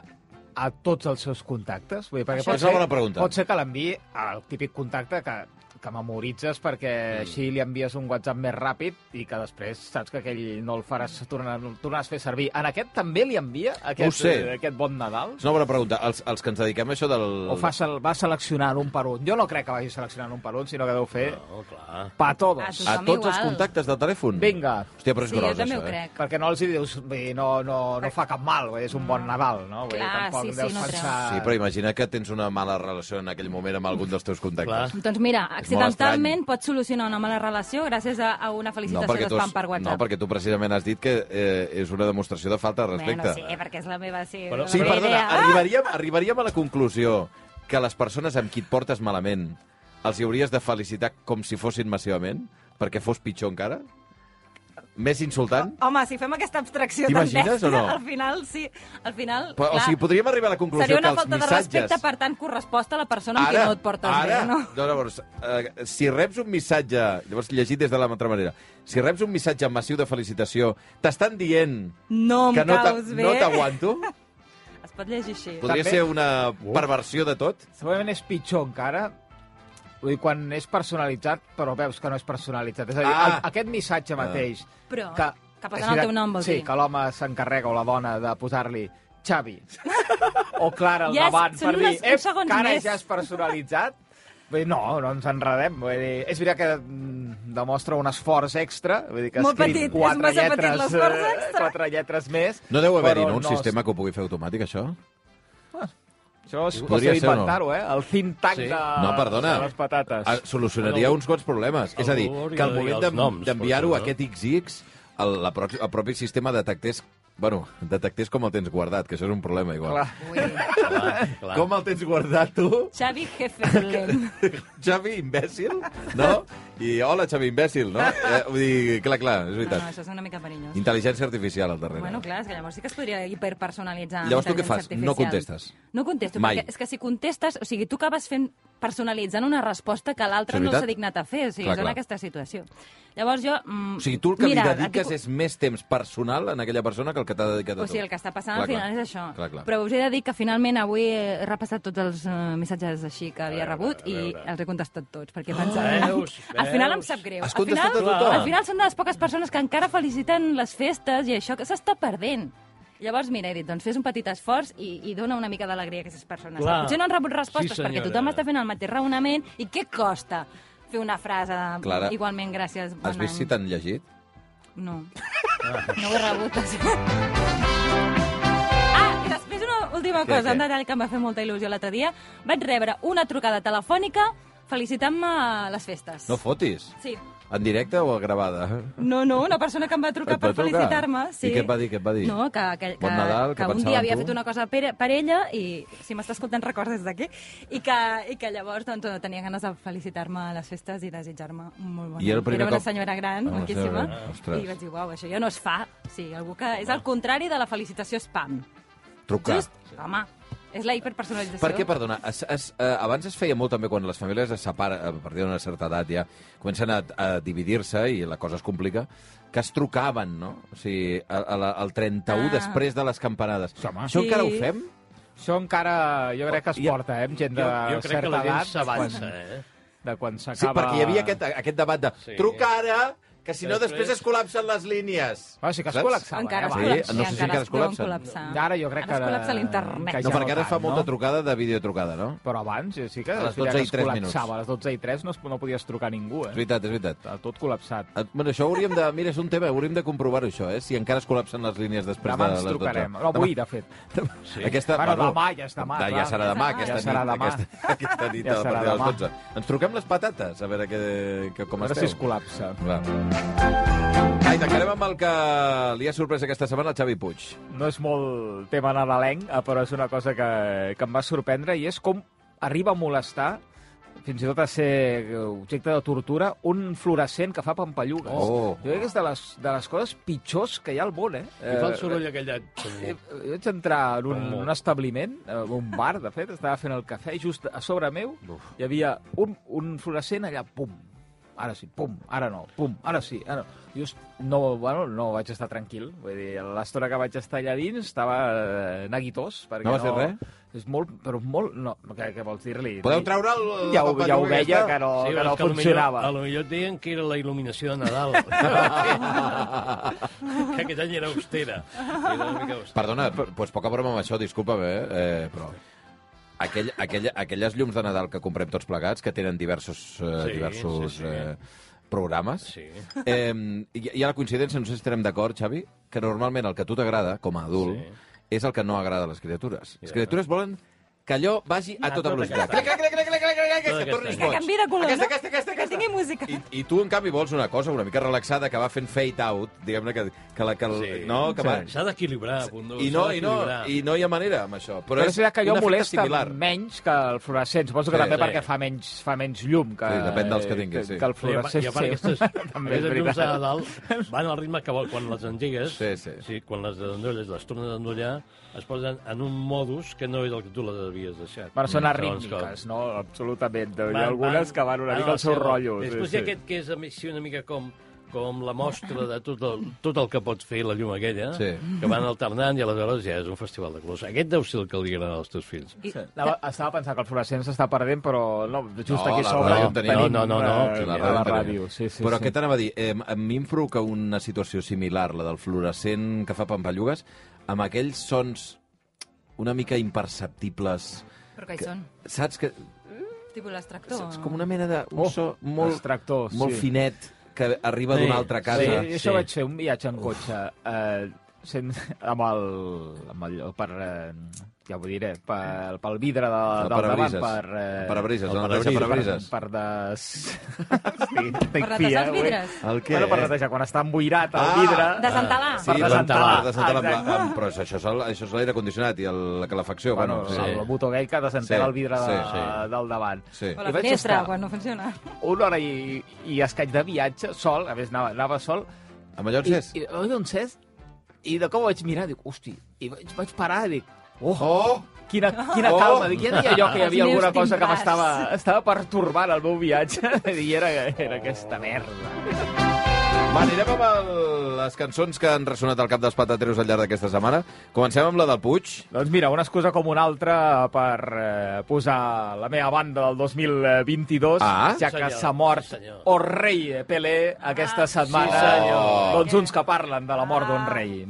Speaker 1: a tots els seus contactes? Vull dir, perquè
Speaker 3: Això
Speaker 1: pot
Speaker 3: és una
Speaker 1: ser-
Speaker 3: bona pregunta.
Speaker 1: Pot ser que l'enviï al típic contacte que, que memoritzes perquè
Speaker 3: Mm.
Speaker 1: així li envies un WhatsApp més ràpid i que després saps que aquell no el faràs, tornar, tornaràs a fer servir. En aquest també li envia
Speaker 3: ho
Speaker 1: aquest,
Speaker 3: sé.
Speaker 1: eh, aquest bon Nadal?
Speaker 3: És una bona pregunta. Els, els que ens dediquem a això del...
Speaker 1: O fa, sel- va seleccionant un per un? Jo no crec que vagi seleccionant un per un, sinó que deu fer
Speaker 4: Oh, clar.
Speaker 1: pa a
Speaker 6: A
Speaker 1: todos.
Speaker 6: tothom.
Speaker 3: A
Speaker 6: Som
Speaker 3: tots
Speaker 6: igual.
Speaker 3: els contactes de telèfon?
Speaker 1: Vinga.
Speaker 3: Hòstia, però és
Speaker 6: sí,
Speaker 3: gros,
Speaker 6: jo també
Speaker 3: això, eh?
Speaker 6: ho crec.
Speaker 1: Perquè no els hi dius, vull dir, no, no, no fa cap mal, vull dir, és un bon Nadal, no? Vull dir,
Speaker 6: Ah. Clar,
Speaker 1: tampoc
Speaker 6: sí, sí,
Speaker 1: deus
Speaker 6: no treu.
Speaker 1: pensar...
Speaker 3: Eh? Sí, però imagina que tens una mala relació en aquell moment amb algun dels teus contactes.
Speaker 6: Doncs mira,
Speaker 3: És molt estrany.
Speaker 6: accidentalment pots solucionar una mala relació gràcies a, a una felicitació no,
Speaker 3: tu,
Speaker 6: d'espam
Speaker 3: has,
Speaker 6: per WhatsApp.
Speaker 3: no, perquè tu precisament has dit que eh, és una demostració de falta de respecte.
Speaker 6: Bueno, sí, perquè és la meva, sí,
Speaker 4: Però-
Speaker 6: la
Speaker 3: Sí,
Speaker 6: meva
Speaker 3: perdona,
Speaker 6: idea.
Speaker 3: arribaríem, arribaríem a la conclusió que les persones amb qui et portes malament els hi hauries de felicitar com si fossin massivament? Perquè fos pitjor encara? Més insultant?
Speaker 6: Home, si fem aquesta abstracció tan
Speaker 3: T'imagines
Speaker 6: mestra,
Speaker 3: o no?
Speaker 6: al final sí. Al final,
Speaker 3: Però, o sigui, podríem arribar a la conclusió
Speaker 6: seria
Speaker 3: que
Speaker 6: una
Speaker 3: els
Speaker 6: falta de
Speaker 3: missatges...
Speaker 6: respecte, per tant, corresposta a la persona amb qui no et portes
Speaker 3: ara,
Speaker 6: bé, no?
Speaker 3: no llavors, eh, si reps un missatge, llavors llegit des de l'altra manera, si reps un missatge massiu de felicitació, t'estan dient
Speaker 6: No em
Speaker 3: que no t'a-
Speaker 6: caus bé.
Speaker 3: no t'aguanto?
Speaker 6: Es pot llegir així.
Speaker 3: Podria
Speaker 1: També-
Speaker 3: ser una perversió de tot?
Speaker 1: Segurament és pitjor encara vull dir, quan és personalitzat, però veus que no és personalitzat. És a dir,
Speaker 3: Ah.
Speaker 1: el, aquest missatge mateix...
Speaker 6: Però,
Speaker 1: Que,
Speaker 6: que posen el teu nom, vols
Speaker 1: Sí,
Speaker 6: dir?
Speaker 1: que l'home s'encarrega, o la dona, de posar-li Xavi o Clara al
Speaker 6: Ja és-
Speaker 1: davant
Speaker 6: són
Speaker 1: per dir
Speaker 6: unes- uns segons
Speaker 1: que ara
Speaker 6: més."
Speaker 1: ja és personalitzat. Vull dir, no, no ens enredem. Vull dir, és veritat que mm, demostra un esforç extra. Vull dir que ha
Speaker 6: Molt
Speaker 1: escrit
Speaker 6: petit, és
Speaker 1: quatre
Speaker 6: massa petit
Speaker 1: lletres,
Speaker 6: l'esforç
Speaker 1: eh,
Speaker 6: extra.
Speaker 1: Quatre lletres més.
Speaker 3: No deu haver-hi,
Speaker 1: però
Speaker 3: no, un
Speaker 1: es-
Speaker 3: sistema que ho pugui fer automàtic, això?
Speaker 1: Això és
Speaker 3: Podria ser
Speaker 1: qüestió
Speaker 3: o no?
Speaker 1: d'inventar-ho, eh? El think tank
Speaker 4: Sí.
Speaker 1: de,
Speaker 3: No, perdona.
Speaker 1: de les patates.
Speaker 3: Ah, Solucionaria
Speaker 4: Bueno,
Speaker 3: uns quants problemes. És a dir,
Speaker 4: algú hauria
Speaker 3: que al
Speaker 4: de dir
Speaker 3: moment
Speaker 4: els
Speaker 3: d'en-
Speaker 4: noms,
Speaker 3: d'enviar-ho
Speaker 4: per
Speaker 3: a
Speaker 4: això,
Speaker 3: aquest XX, el, la pro el propi sistema detectés Bueno, detectés com el tens guardat, que això és un problema igual.
Speaker 1: Clar.
Speaker 6: Ui.
Speaker 4: Clar, clar.
Speaker 3: Com el tens guardat tu?
Speaker 6: Xavi Hefferlen.
Speaker 3: Xavi, imbècil, no? I hola, Xavi, imbècil, no? Eh, vull dir, clar, clar, és
Speaker 6: No, no,
Speaker 3: veritat.
Speaker 6: això és una mica perillós.
Speaker 3: Intel·ligència artificial al darrere.
Speaker 6: Bueno, clar, és que llavors sí que es podria hiperpersonalitzar. amb
Speaker 3: Llavors tu què
Speaker 6: intel·ligència
Speaker 3: fas? No
Speaker 6: artificial.
Speaker 3: contestes.
Speaker 6: No contesto,
Speaker 3: Mai.
Speaker 6: perquè és que si contestes... O sigui, tu acabes fent personalitzant una resposta que l'altre
Speaker 3: És
Speaker 6: no
Speaker 3: veritat?
Speaker 6: s'ha dignat a fer. O sigui,
Speaker 3: Clar,
Speaker 6: és en
Speaker 3: clar.
Speaker 6: aquesta situació. Llavors jo... Mm,
Speaker 3: O sigui, tu el que
Speaker 6: mira,
Speaker 3: li
Speaker 6: a ti
Speaker 3: dediques
Speaker 6: co-
Speaker 3: és més temps personal en aquella persona que el que t'ha dedicat a tu.
Speaker 6: O sigui, el que està passant
Speaker 3: Clar,
Speaker 6: al final
Speaker 3: clar.
Speaker 6: és això.
Speaker 3: Clar, clar.
Speaker 6: Però us he de dir que finalment avui he repassat tots els eh, missatges així que havia
Speaker 4: veure,
Speaker 6: rebut
Speaker 4: a veure.
Speaker 6: i els he contestat tots, perquè he pensat...
Speaker 4: Ah, veus,
Speaker 6: al final em
Speaker 4: veus.
Speaker 6: sap greu.
Speaker 3: Has
Speaker 6: al final,
Speaker 3: contestat a tothom.
Speaker 6: Al final són de les poques persones que encara feliciten les festes i això que s'està perdent. Llavors, mira, he dit, doncs fes un petit esforç i, i dona una mica d'alegria a aquestes persones.
Speaker 4: Clar.
Speaker 6: Que potser no han rebut respostes
Speaker 4: Sí,
Speaker 6: perquè
Speaker 4: senyora.
Speaker 6: tothom està fent el mateix raonament i què costa fer una frase de,
Speaker 3: Clara,
Speaker 6: igualment gràcies, bon
Speaker 3: Has vist si
Speaker 6: any.
Speaker 3: t'han llegit?
Speaker 6: No. No ho he rebut, això. Ah, i després una última
Speaker 3: Què,
Speaker 6: cosa,
Speaker 3: què?
Speaker 6: un detall que em va fer molta il·lusió l'altre dia. Vaig rebre una trucada telefònica felicitant-me a les festes.
Speaker 3: No fotis.
Speaker 6: Sí.
Speaker 3: En directe o gravada?
Speaker 6: No, no, una persona que em va
Speaker 3: Et
Speaker 6: trucar
Speaker 3: va
Speaker 6: per
Speaker 3: trucar?
Speaker 6: felicitar-me.
Speaker 3: I
Speaker 6: Sí.
Speaker 3: què et va dir, què et va dir?
Speaker 6: No, que, que, que,
Speaker 3: Bon Nadal, que
Speaker 6: que un
Speaker 3: pensava
Speaker 6: dia
Speaker 3: en
Speaker 6: havia
Speaker 3: tu.
Speaker 6: fet una cosa per, per ella i si m'està escoltant records des d'aquí i, que, i que llavors doncs, tenia ganes de felicitar-me a les festes i desitjar-me un molt bon
Speaker 3: I era el
Speaker 6: any.
Speaker 3: primer
Speaker 6: Era una
Speaker 3: cop-
Speaker 6: senyora gran,
Speaker 3: Ah, una senyora
Speaker 6: maquíssima,
Speaker 3: gran. Ostres.
Speaker 6: i vaig dir, uau, això ja no es fa. Sí, algú que és el contrari de la felicitació spam.
Speaker 3: Trucar.
Speaker 6: Just, home, és la hiperpersonalització.
Speaker 3: Per què, perdona, es, es, eh, abans es feia molt també quan les famílies es separen, a partir d'una certa edat ja, comencen a, a dividir-se i la cosa es complica, que es trucaven, no? O sigui, a, a la, el 31
Speaker 6: Ah.
Speaker 3: després de les campanades.
Speaker 1: Sí, home.
Speaker 3: Això
Speaker 6: Sí.
Speaker 3: encara ho fem?
Speaker 1: Això encara jo crec que es
Speaker 3: Oh, ja-
Speaker 1: porta, eh, amb gent de
Speaker 4: Jo, jo crec
Speaker 1: certa
Speaker 4: que la gent
Speaker 1: edat.
Speaker 4: s'avança,
Speaker 1: quan-
Speaker 4: eh?
Speaker 1: De quan s'acaba...
Speaker 3: Sí, perquè hi havia aquest, aquest debat de
Speaker 4: Sí.
Speaker 3: truca ara, que si no
Speaker 4: Després-
Speaker 3: després es col·lapsen les línies.
Speaker 1: Bueno, Ah, sí que es
Speaker 3: Saps?
Speaker 1: col·lapsava,
Speaker 6: Encara
Speaker 1: eh,
Speaker 6: es
Speaker 3: Sí,
Speaker 1: abans.
Speaker 6: col·lapsa.
Speaker 3: no sé si encara es
Speaker 6: deuen
Speaker 3: col·lapsen.
Speaker 6: col·lapsar.
Speaker 1: Ara jo crec que...
Speaker 6: Ara es col·lapsa l'internet.
Speaker 1: que
Speaker 3: No, perquè ara
Speaker 1: tant,
Speaker 3: es fa molta
Speaker 1: no?
Speaker 3: trucada de videotrucada, no?
Speaker 1: Però abans, jo sí que,
Speaker 3: A les
Speaker 1: és veritat
Speaker 3: 12 i
Speaker 1: que
Speaker 3: tres
Speaker 1: es
Speaker 3: minuts.
Speaker 1: col·lapsava. A les 12 i 3 no, es, no podies trucar a ningú,
Speaker 3: És
Speaker 1: eh?
Speaker 3: veritat, és veritat.
Speaker 1: Estava Tot col·lapsat.
Speaker 3: Et- Bueno, això hauríem de... Mira, és un tema, hauríem de comprovar això, eh? Si encara es col·lapsen les línies després
Speaker 1: Demà
Speaker 3: de les
Speaker 1: ens
Speaker 3: 12.
Speaker 1: trucarem. No, avui, de fet.
Speaker 3: Sí. Aquesta,
Speaker 1: Bueno, demà ja és demà,
Speaker 3: Da, ja
Speaker 1: clar.
Speaker 3: serà demà,
Speaker 6: Ja
Speaker 3: aquesta
Speaker 1: serà
Speaker 3: nit.
Speaker 1: demà.
Speaker 3: Aquesta, aquesta nit
Speaker 1: Ja
Speaker 3: a
Speaker 1: serà
Speaker 3: partir de les
Speaker 1: demà.
Speaker 3: 12. Ens truquem les patates, a veure que, que
Speaker 1: A
Speaker 3: com
Speaker 1: veure
Speaker 3: esteu.
Speaker 1: si es col·lapsa.
Speaker 3: Va. Ah, i tancarem amb el que li ha sorprès aquesta setmana, el Xavi Puig.
Speaker 1: No és molt tema nadalenc, eh, però és una cosa que, que em va sorprendre i és com arriba a molestar fins i tot a ser objecte de tortura, un fluorescent que fa pampallugues.
Speaker 3: Oh.
Speaker 1: Jo crec que és de les, de les coses pitjors que hi ha al món, eh?
Speaker 4: I fa el
Speaker 1: Eh,
Speaker 4: soroll aquell de...
Speaker 1: Eh, Jo vaig entrar en un, un establiment, eh, un bar, de fet, estava fent el cafè, i just a sobre meu
Speaker 3: Uf.
Speaker 1: hi havia un, un fluorescent allà, pum, ara sí, pum, ara no, pum, ara sí, ara no. Jo est- no, bueno, no vaig estar tranquil, vull dir, l'estona que vaig estar allà dins estava eh, neguitós. Perquè
Speaker 3: No vas dir res?
Speaker 1: És molt, però molt, no, què, què vols dir-li?
Speaker 3: Podeu treure el...
Speaker 1: ja
Speaker 3: la
Speaker 1: ho, ja ho
Speaker 3: pampalluga
Speaker 1: veia
Speaker 3: aquesta?
Speaker 1: que no,
Speaker 4: Sí,
Speaker 1: que
Speaker 4: però és que
Speaker 1: no
Speaker 4: a lo
Speaker 1: funcionava.
Speaker 4: Millor, a lo millor et deien que era la il·luminació de Nadal. que aquest any era austera. Era una mica austera.
Speaker 3: Perdona, p- pues poca broma amb això, disculpa'm, eh? eh però aquell, aquell, aquelles llums de Nadal que comprem tots plegats, que tenen diversos, eh,
Speaker 4: Sí,
Speaker 3: diversos
Speaker 4: sí, sí.
Speaker 3: Eh, programes,
Speaker 4: Sí.
Speaker 3: eh, hi, hi ha la coincidència, no sé si estarem d'acord, Xavi, que normalment el que a tu t'agrada, com a adult,
Speaker 4: Sí.
Speaker 3: sí. és el que no agrada a les criatures. Les criatures volen que allò vagi a tota
Speaker 5: tota
Speaker 3: velocitat.
Speaker 5: aquesta.
Speaker 3: Clic, clic, clic, clic, clic, clic, clic, que tornis
Speaker 6: Que
Speaker 3: boig.
Speaker 6: canvi de color,
Speaker 3: Aquesta,
Speaker 6: no?
Speaker 3: aquesta, aquesta,
Speaker 6: Que
Speaker 3: aquesta.
Speaker 6: tingui música.
Speaker 3: I, I tu, en canvi, vols una cosa una mica relaxada que va fent fade out, diguem-ne que, que la... Que, el,
Speaker 4: Sí.
Speaker 3: no, que va...
Speaker 4: S'ha d'equilibrar, Pundó.
Speaker 3: I no, i no, i no hi ha manera amb això. Però,
Speaker 1: Però és veritat que allò
Speaker 3: un efecte
Speaker 1: molesta
Speaker 3: similar.
Speaker 1: menys que el fluorescent. Suposo que
Speaker 3: Sí,
Speaker 1: també
Speaker 4: sí.
Speaker 1: perquè fa menys, fa menys llum que, eh,
Speaker 3: Sí, depèn dels que tinguis, sí.
Speaker 1: que
Speaker 4: I a
Speaker 1: el
Speaker 4: part,
Speaker 1: fluorescent.
Speaker 4: i a part aquestes,
Speaker 1: també és
Speaker 4: aquestes llums de
Speaker 1: veritat.
Speaker 4: dalt van al ritme que vol. Quan les engegues,
Speaker 3: Sí, sí.
Speaker 4: quan les endolles, les tornes a endollar, es posen en un modus que no és el que tu les havies deixat.
Speaker 1: Bueno, són
Speaker 4: Mm, segons
Speaker 1: arrítmiques, no? Absolutament. Hi
Speaker 4: Van-
Speaker 1: ha algunes
Speaker 4: van-
Speaker 1: que van una
Speaker 4: van
Speaker 1: mica
Speaker 4: a la
Speaker 1: al seu
Speaker 4: seva.
Speaker 1: rotllo.
Speaker 4: Després hi ha aquest que és a més, sí, una mica com com la mostra de tot el, tot el que pot fer la llum aquella,
Speaker 3: Sí.
Speaker 4: que van alternant i aleshores ja és un festival de colors. Aquest deu ser el que li agrada als teus fills.
Speaker 6: I,
Speaker 1: Anava, estava pensant que el fluorescent s'està perdent, però no, just
Speaker 3: No,
Speaker 1: aquí
Speaker 3: la
Speaker 1: a sobre
Speaker 3: ràdio
Speaker 1: ja
Speaker 3: en tenim.
Speaker 1: tenim
Speaker 4: No, no, no, no.
Speaker 1: eh,
Speaker 3: Sí, la
Speaker 1: a
Speaker 3: ràdio en
Speaker 1: la
Speaker 3: tenim.
Speaker 1: ràdio. Sí, sí,
Speaker 3: Però
Speaker 1: sí.
Speaker 3: què t'anava a dir? Eh, a mi em provoca una situació similar, la del fluorescent que fa Pampallugues, amb aquells sons una mica imperceptibles.
Speaker 6: però que hi són?
Speaker 3: Saps que...
Speaker 6: Tipus l'extractor.
Speaker 3: Saps? Com una mena de... Un
Speaker 1: Oh,
Speaker 3: so molt,
Speaker 1: els tractors,
Speaker 3: molt
Speaker 1: sí.
Speaker 3: finet que arriba
Speaker 4: Sí,
Speaker 3: d'una altra
Speaker 1: Sí,
Speaker 3: casa.
Speaker 1: jo
Speaker 4: Sí.
Speaker 1: això vaig fer un viatge en cotxe eh, sent, amb el... Amb el per, eh, ja ho diré, pel, pel vidre de,
Speaker 3: El
Speaker 1: del davant,
Speaker 3: parabrises.
Speaker 1: per... eh,
Speaker 3: El parabrises,
Speaker 4: el
Speaker 3: no? El
Speaker 1: Per,
Speaker 3: parabrises.
Speaker 1: per des... Sí, eh,
Speaker 6: Per netejar els vidres.
Speaker 3: El què?
Speaker 1: Bueno, per netejar, quan està emboirat el
Speaker 3: Ah!
Speaker 1: vidre...
Speaker 6: Desentalar.
Speaker 3: Sí,
Speaker 1: Per desentalar.
Speaker 3: per desentalar. amb
Speaker 1: Exacte.
Speaker 3: la- amb- Però això és el- això és l'aire condicionat i el- la calefacció.
Speaker 1: Bueno,
Speaker 3: Bueno,
Speaker 1: el,
Speaker 3: sí.
Speaker 1: el botó gai que desentela
Speaker 3: Sí,
Speaker 1: el vidre de,
Speaker 3: sí, sí.
Speaker 1: del davant.
Speaker 3: Sí.
Speaker 6: O la
Speaker 1: I vaig
Speaker 6: finestra,
Speaker 1: estar-
Speaker 6: quan no funciona.
Speaker 3: Mm.
Speaker 1: Una hora i, i escaig de viatge, sol, a més anava, anava sol,
Speaker 3: A Mallorca
Speaker 1: I, i, oi, d'on és? I de cop vaig mirar, dic, hosti, i vaig, vaig parar i dic,
Speaker 3: Oh!
Speaker 1: quina, quina
Speaker 3: Oh!
Speaker 1: oh! calma. Dic, ja deia jo que hi havia
Speaker 6: Els meus
Speaker 1: alguna cosa que
Speaker 6: timbrars.
Speaker 1: m'estava estava pertorbant el meu viatge i era, era aquesta merda.
Speaker 3: Va, anirem amb el, les cançons que han ressonat al cap dels patateros al llarg d'aquesta setmana. Comencem amb la del Puig.
Speaker 1: Doncs mira, una excusa com una altra per eh, posar la meva banda del 2022,
Speaker 3: Ah.
Speaker 1: ja que
Speaker 4: Senyor,
Speaker 1: s'ha mort
Speaker 4: sí, senyor.
Speaker 1: o rei Pelé aquesta setmana.
Speaker 3: senyor.
Speaker 1: Doncs uns que parlen de la mort d'un rei.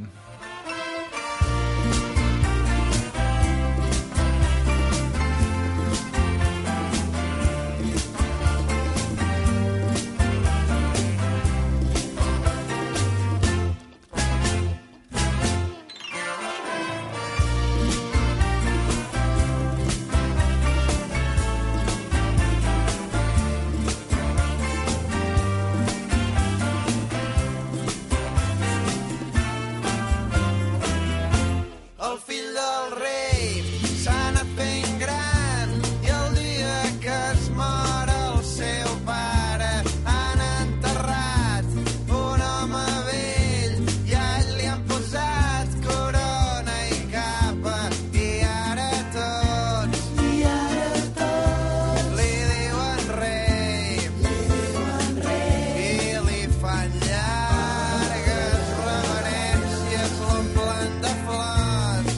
Speaker 2: El fill del rei s'ha anat fent gran i el dia que es mor el seu pare han enterrat un home vell i a ell li han posat corona i capa i ara tots i ara tots li diuen rei li diuen rei i li fan llargues reverències l'omplen de flors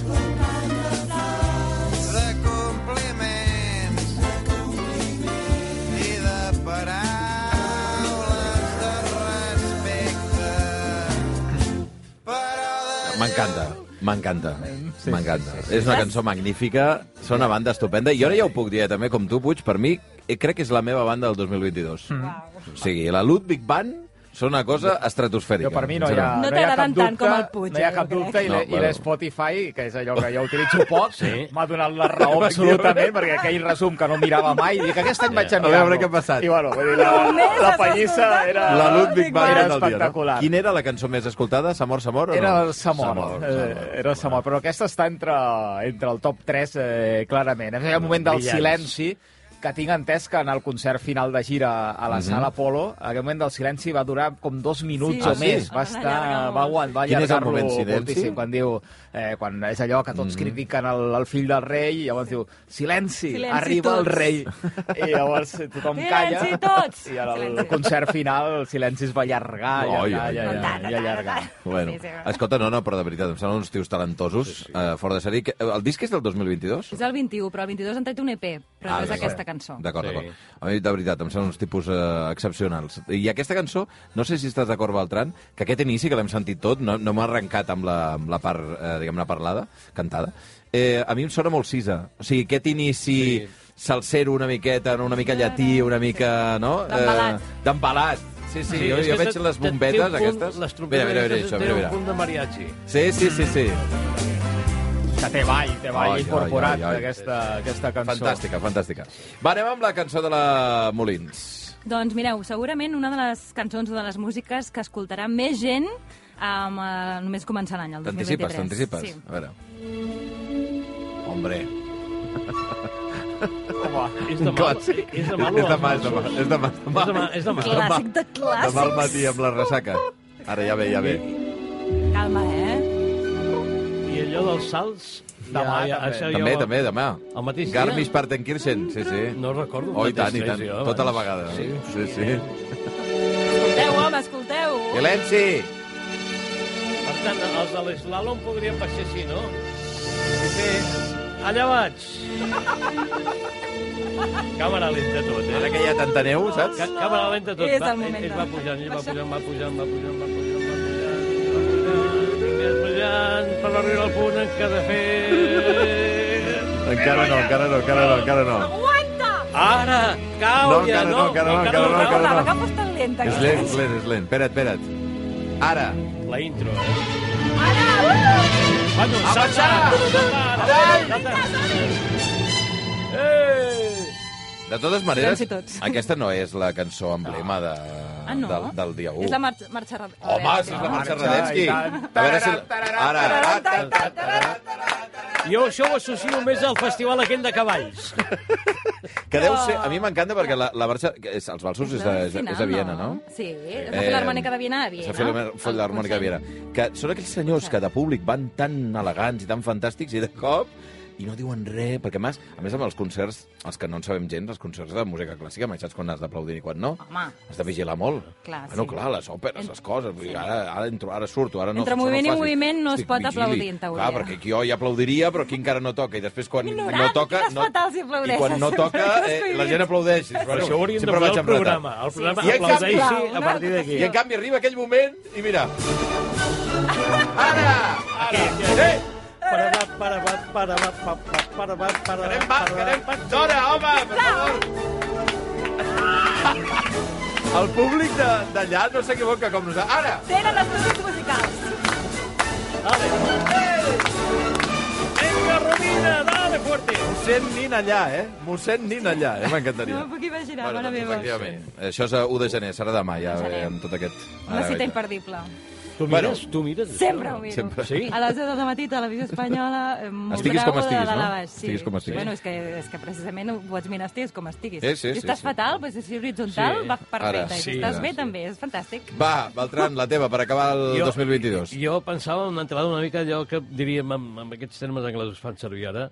Speaker 2: de compliments i de paraules de respecte. Però de
Speaker 3: M'encanta, m'encanta, m'encanta. És una cançó magnífica, sona banda estupenda, i ara ja ho puc dir, eh, també, com tu, Puig, per mi, eh, crec que és la meva banda del 2022. O sigui, la Ludwig Band són una cosa estratosfèrica.
Speaker 1: Mm. Jo per mi no hi ha,
Speaker 6: No
Speaker 1: hi ha cap
Speaker 6: t'agraden
Speaker 1: dubte,
Speaker 6: tant com el Puig,
Speaker 1: no hi ha
Speaker 6: eh,
Speaker 1: cap
Speaker 6: jo crec.
Speaker 1: dubte i,
Speaker 3: No,
Speaker 1: no,
Speaker 3: bueno.
Speaker 1: i l'Spotify, que és allò que jo utilitzo poc,
Speaker 4: Sí.
Speaker 1: m'ha donat la raó absolutament, perquè aquell resum que no mirava mai, dic, aquest any vaig a mirar-lo.
Speaker 3: veure què ha passat.
Speaker 1: I bueno, vull dir, la,
Speaker 6: Només
Speaker 1: la
Speaker 6: has
Speaker 1: pallissa
Speaker 6: escoltat
Speaker 1: era,
Speaker 3: La Ludwig Band del
Speaker 1: era
Speaker 3: dia, no?
Speaker 1: espectacular.
Speaker 3: Quina era la cançó més escoltada? S'amor, s'amor o no?
Speaker 1: Era el Samor.
Speaker 3: S'amor,
Speaker 1: eh,
Speaker 3: s'amor.
Speaker 1: era el Samor, però aquesta està entre, entre el top 3, eh, clarament. És el moment del
Speaker 4: Brillants.
Speaker 1: silenci, que tinc entès que en el concert final de gira a
Speaker 3: Mhm.
Speaker 1: la sala Polo, aquell moment del silenci va durar com dos minuts
Speaker 6: Sí.
Speaker 1: o
Speaker 6: Ah, sí?
Speaker 1: més. Va
Speaker 6: Van
Speaker 1: estar...
Speaker 6: allargar molt.
Speaker 1: Va, aguant- va
Speaker 3: Quin és el
Speaker 1: allargar-lo
Speaker 3: moment silenci? Mhm.
Speaker 1: moltíssim. Quan diu... Eh, quan és allò que tots critiquen el, el fill del rei, i llavors diu, silenci,
Speaker 6: Silenci
Speaker 1: arriba el
Speaker 6: tots."
Speaker 1: rei. I llavors tothom
Speaker 6: Silenci
Speaker 1: calla.
Speaker 6: tots!
Speaker 1: I en el
Speaker 6: Silenci.
Speaker 1: concert final el silenci es va allargar,
Speaker 3: Ai,
Speaker 1: i allargar,
Speaker 3: ai,
Speaker 1: i
Speaker 3: ai.
Speaker 1: allargar, i allargar.
Speaker 3: Bueno,
Speaker 6: Sí, sí.
Speaker 3: escolta, no, no, però de veritat, em semblen uns tios talentosos, sí, sí. Eh, fora de sèrie. Que- El disc és del 2022?
Speaker 6: És el 21, però el 22 han tret un EP, però no és
Speaker 3: d'acord.
Speaker 6: aquesta cançó.
Speaker 3: D'acord,
Speaker 4: Sí.
Speaker 3: d'acord. A mi, de veritat, em semblen uns tipus eh, excepcionals. I aquesta cançó, no sé si estàs d'acord, Beltran, que aquest inici, que l'hem sentit tot, no, no m'ha arrencat amb la, amb la part, eh, diguem-ne, parlada, cantada, eh, a mi em sona molt sisa. O sigui, aquest inici...
Speaker 4: Sí.
Speaker 3: Sí. Salsero una miqueta, no? una mica llatí, una mica... No?
Speaker 6: D'embalat.
Speaker 3: Eh, D'embalat. Sí, sí, sí, jo,
Speaker 4: és
Speaker 3: jo veig
Speaker 4: que te-
Speaker 3: les
Speaker 4: te- té un
Speaker 3: bombetes
Speaker 4: punt-
Speaker 3: aquestes.
Speaker 4: Les trompetes
Speaker 3: mira, mira, mira,
Speaker 4: aquestes
Speaker 3: això,
Speaker 4: té
Speaker 3: mira,
Speaker 4: un
Speaker 3: mira.
Speaker 4: punt de mariachi.
Speaker 3: Sí, sí, sí, sí.
Speaker 5: que té ball, té ball
Speaker 3: Ai, ai,
Speaker 5: incorporat,
Speaker 3: ai, ai.
Speaker 5: Aquesta, aquesta cançó.
Speaker 3: Fantàstica, fantàstica. Va, anem amb la cançó de la Molins.
Speaker 6: Doncs mireu, segurament una de les cançons o de les músiques que escoltarà més gent um, uh, només començar l'any, el 2023.
Speaker 3: T'anticipes, t'anticipes.
Speaker 6: Sí.
Speaker 3: A veure. Hombre.
Speaker 4: És
Speaker 3: Un
Speaker 4: demà,
Speaker 3: clàssic.
Speaker 4: és demà,
Speaker 3: és demà, és demà, és demà, és demà.
Speaker 4: És demà, és demà.
Speaker 6: Clàssic de clàssics.
Speaker 3: Demà al matí amb la ressaca. Ara ja ve, ja ve.
Speaker 6: Calma, eh?
Speaker 4: I allò dels salts...
Speaker 5: Demà, també.
Speaker 4: això
Speaker 3: També,
Speaker 4: jo-
Speaker 3: també, demà.
Speaker 4: El mateix dia?
Speaker 3: Garmisch Partenkirchen, sí, sí.
Speaker 4: No recordo el
Speaker 3: Oh, i
Speaker 4: mateix
Speaker 3: tant, i
Speaker 4: dia,
Speaker 3: tant.
Speaker 4: jo,
Speaker 3: Tota la
Speaker 4: abans.
Speaker 3: vegada.
Speaker 4: Sí,
Speaker 3: sí. sí.
Speaker 6: Escolteu, home, escolteu.
Speaker 3: Silenci!
Speaker 4: Per tant, els de l'eslàlom podrien baixar així, no? Sí, sí. Allà vaig. Càmera lenta tot, eh?
Speaker 3: Ara que hi ha tanta neu, saps?
Speaker 4: Ca- Càmera lenta tot.
Speaker 6: És
Speaker 4: Va,
Speaker 6: el moment
Speaker 4: ell, ell
Speaker 6: de-
Speaker 4: va pujant, ell va pujant, va pujant, va pujant, va pujant, va pujant, va pujant, va pujant, per arribar al punt en què ha de fer...
Speaker 3: Encara no, encara no, encara no, encara no.
Speaker 6: Aguanta!
Speaker 4: Ara! Cau,
Speaker 3: No,
Speaker 4: ja,
Speaker 3: encara
Speaker 4: no!
Speaker 3: no, encara no, encara no,
Speaker 6: Però
Speaker 3: encara
Speaker 6: la
Speaker 3: no.
Speaker 6: vegada fos tan lenta.
Speaker 3: És lent, és lent, és lent. Espera't, espera't. Ara.
Speaker 4: La intro, eh?
Speaker 6: Ara!
Speaker 4: Bueno, salta! Salta! Salta! Eh!
Speaker 3: De totes maneres,
Speaker 6: Silenci tots.
Speaker 3: aquesta no és la cançó emblema de,
Speaker 6: Ah, no?
Speaker 3: del, del dia 1.
Speaker 6: És la marxa... marxa Home,
Speaker 3: Home, és la marxa Radetsky.
Speaker 5: i tant.
Speaker 3: A veure si... Ara. Ah,
Speaker 4: Jo això ho associo més al festival aquell de cavalls.
Speaker 3: Que deu ser... A mi m'encanta perquè la, la marxa... que és- Els valsos és, de, és, de- és de Viena, no?
Speaker 6: Sí, és la Filharmònica de Viena a
Speaker 3: És
Speaker 6: Viena.
Speaker 3: Eh, la Filharmònica de Viena. Que són aquells senyors que de públic van tan elegants i tan fantàstics i de cop i no diuen res, perquè a més, a més amb els concerts, els que no en sabem gens, els concerts de música clàssica, mai saps quan has d'aplaudir i quan no.
Speaker 6: Home.
Speaker 3: Has de vigilar molt.
Speaker 6: Clar,
Speaker 3: bueno,
Speaker 6: sí.
Speaker 3: clar, les òperes, les coses, vull dir, ara, ara entro, ara surto, ara no...
Speaker 6: Entre
Speaker 3: això no
Speaker 6: moviment i
Speaker 3: ho facis.
Speaker 6: moviment no es
Speaker 3: Estic
Speaker 6: pot
Speaker 3: vigili.
Speaker 6: aplaudir, en teoria.
Speaker 3: Clar, perquè aquí jo hi aplaudiria, però aquí encara no toca, i després quan
Speaker 6: Ignorant,
Speaker 3: no toca...
Speaker 6: quines
Speaker 3: No...
Speaker 6: fatals si
Speaker 3: I
Speaker 6: aplaudeixes.
Speaker 3: quan no toca, eh, la
Speaker 6: Descohibits.
Speaker 3: gent aplaudeix. Dius,
Speaker 4: Però
Speaker 3: bueno,
Speaker 4: això ho hauríem de
Speaker 3: sempre
Speaker 4: posar
Speaker 3: vaig
Speaker 4: al
Speaker 3: amb retard.
Speaker 4: programa. El
Speaker 3: I
Speaker 4: programa
Speaker 3: en canvi-
Speaker 4: aplaudeixi
Speaker 6: Clar,
Speaker 4: a
Speaker 6: una
Speaker 4: partir d'aquí.
Speaker 3: I en canvi arriba aquell moment i mira... Ara! Ara! Eh!
Speaker 4: Para, va, para, va, para, va, pa, pa, para, va, para,
Speaker 3: Que
Speaker 4: va,
Speaker 3: anem, va,
Speaker 4: para,
Speaker 3: que
Speaker 4: va.
Speaker 3: anem d'hora, home, per favor! El públic de- d'allà no s'equivoca com nosaltres. Ara!
Speaker 6: Tenen estudis musicals.
Speaker 4: Dale. Vinga, Romina, dale fuerte.
Speaker 3: Mossèn Nin allà, eh? Mossèn Nin allà, eh?
Speaker 6: No
Speaker 3: M'encantaria.
Speaker 6: m'ho puc imaginar,
Speaker 3: Bueno,
Speaker 6: mare
Speaker 3: doncs,
Speaker 6: meva.
Speaker 3: efectivament. Això és a 1 de gener, serà demà, ja,
Speaker 6: gener.
Speaker 3: eh, amb tot aquest...
Speaker 6: Una
Speaker 3: ara,
Speaker 6: cita
Speaker 3: vaja.
Speaker 6: imperdible.
Speaker 4: Tu
Speaker 3: Bueno.
Speaker 4: mires, tu mires. això?
Speaker 6: Sempre ho miro.
Speaker 3: Sempre.
Speaker 4: Sí?
Speaker 6: A les 10 del matí, televisió espanyola... eh, molt
Speaker 3: Estiguis com
Speaker 6: bravo, de
Speaker 3: estiguis,
Speaker 6: dalt a
Speaker 3: no?
Speaker 6: baix, Sí.
Speaker 3: Estiguis com estiguis.
Speaker 6: Bueno, és que, és que precisament ho pots mirar, estiguis com estiguis.
Speaker 3: Sí, sí,
Speaker 6: si
Speaker 3: sí,
Speaker 6: estàs
Speaker 3: sí.
Speaker 6: fatal, doncs si és horitzontal,
Speaker 4: Sí.
Speaker 6: va perfecte.
Speaker 3: Ara,
Speaker 6: I si
Speaker 3: sí,
Speaker 6: estàs
Speaker 3: ara,
Speaker 6: bé,
Speaker 3: sí.
Speaker 6: també, és fantàstic.
Speaker 3: Va, Beltran, la teva, per acabar el
Speaker 4: Jo-
Speaker 3: 2022.
Speaker 4: Jo pensava en una entrada una mica allò que diríem amb, amb aquests termes anglesos fan servir ara,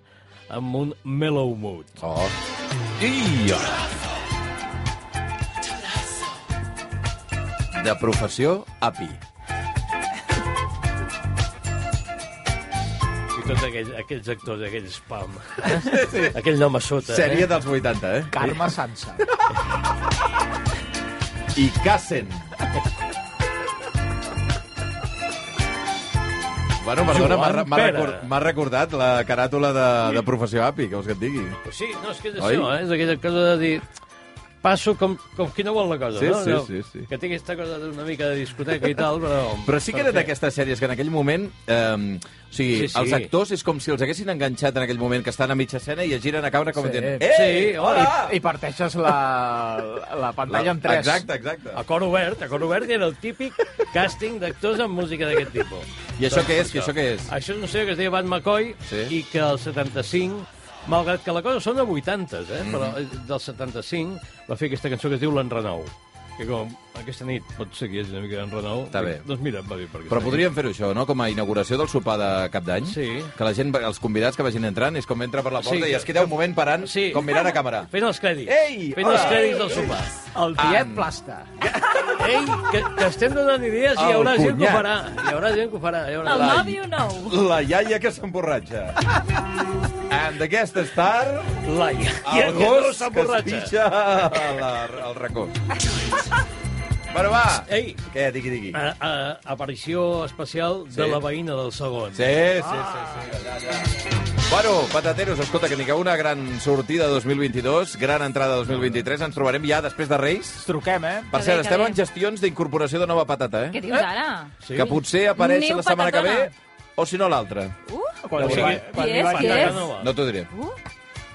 Speaker 4: amb un mellow mood.
Speaker 3: Oh. I... De professió, api.
Speaker 4: I tots aquells, aquells actors, aquells spam. Aquell nom a sota. eh?
Speaker 3: Sèrie dels 80, eh?
Speaker 5: Carme Sansa.
Speaker 3: i cacen. Bueno, perdona, m'ha re- m'ha
Speaker 4: Pera.
Speaker 3: record, m'ha recordat la caràtula de, de Professió Api, que vols que et digui?
Speaker 4: Pues sí, no, és que és
Speaker 3: Oi?
Speaker 4: això, eh? és aquella cosa de dir... Passo com, com qui no vol la cosa,
Speaker 3: Sí,
Speaker 4: no?
Speaker 3: sí,
Speaker 4: No,
Speaker 3: sí, sí.
Speaker 4: Que té aquesta cosa d'una mica de discoteca i tal, però...
Speaker 3: Però sí que era
Speaker 4: perquè-
Speaker 3: d'aquestes sèries que en aquell moment... Eh, o sigui, sí,
Speaker 4: Sí,
Speaker 3: sí.
Speaker 4: sí.
Speaker 3: els actors és com si els haguessin enganxat en aquell moment, que estan a mitja escena i es giren a caure com
Speaker 5: Sí.
Speaker 3: sí. dient...
Speaker 4: Sí,
Speaker 3: Ei!
Speaker 4: hola!
Speaker 5: I, I parteixes la, la pantalla en tres.
Speaker 3: Exacte, exacte.
Speaker 4: A cor obert, a cor obert era el típic càsting d'actors amb música d'aquest tipus.
Speaker 3: I això què és? I això què és?
Speaker 4: Això és un senyor que es deia Van McCoy
Speaker 3: Sí.
Speaker 4: i que el 75, malgrat que la cosa són de 80, eh? però
Speaker 3: Mhm.
Speaker 4: eh, del 75 va fer aquesta cançó que es diu L'Enrenou. Que com aquesta nit pot ser que hi hagi una mica d'enrenou.
Speaker 3: Està bé.
Speaker 4: Doncs mira, em va dir per aquesta
Speaker 3: Però
Speaker 4: nit.
Speaker 3: podríem fer-ho això, no? Com a inauguració del sopar de cap d'any.
Speaker 4: Sí.
Speaker 3: Que la gent, els convidats que vagin entrant és com entra per la porta
Speaker 4: Sí.
Speaker 3: i es queda un moment parant, sí.
Speaker 4: Sí.
Speaker 3: com mirant a càmera.
Speaker 4: Fent els crèdits.
Speaker 3: Ei,
Speaker 4: Fent
Speaker 3: hola.
Speaker 4: els crèdits del sopar.
Speaker 5: El tiet plasta.
Speaker 4: Ei, que, que estem donant idees i hi
Speaker 3: El
Speaker 4: haurà gent que ho
Speaker 3: cunyat.
Speaker 4: farà. Hi haurà gent que ho farà. Hi haurà...
Speaker 6: El nòvio nou.
Speaker 3: La iaia que s'emborratxa. And d'aquest estar,
Speaker 4: La, la,
Speaker 3: el gos que es pitja a la, al racó. Bueno, va.
Speaker 4: Ei.
Speaker 3: Què, digui, digui.
Speaker 4: A, a, aparició especial sí. de
Speaker 3: Sí.
Speaker 4: la veïna del segon.
Speaker 3: Sí, sí, sí, sí. Allà, allà. Bueno, patateros, escolta, que tingueu una gran sortida 2022, gran entrada 2023. Ens trobarem ja després de Reis.
Speaker 5: Ens truquem, eh?
Speaker 3: Per
Speaker 6: Que
Speaker 3: cert,
Speaker 6: bé, que
Speaker 3: estem
Speaker 6: bé.
Speaker 3: en gestions d'incorporació de nova patata, eh?
Speaker 6: Què dius ara?
Speaker 3: Que potser apareix
Speaker 6: Niu
Speaker 3: la setmana que ve,
Speaker 6: patatona.
Speaker 3: o si no l'altra.
Speaker 6: Uh!
Speaker 5: Quan
Speaker 3: Qui
Speaker 5: sigui,
Speaker 3: és?
Speaker 5: quan
Speaker 6: Qui
Speaker 5: li
Speaker 6: és?
Speaker 5: vagi
Speaker 6: Qui
Speaker 5: la
Speaker 6: és?
Speaker 5: cara nova.
Speaker 3: No t'ho diré.
Speaker 6: Uh,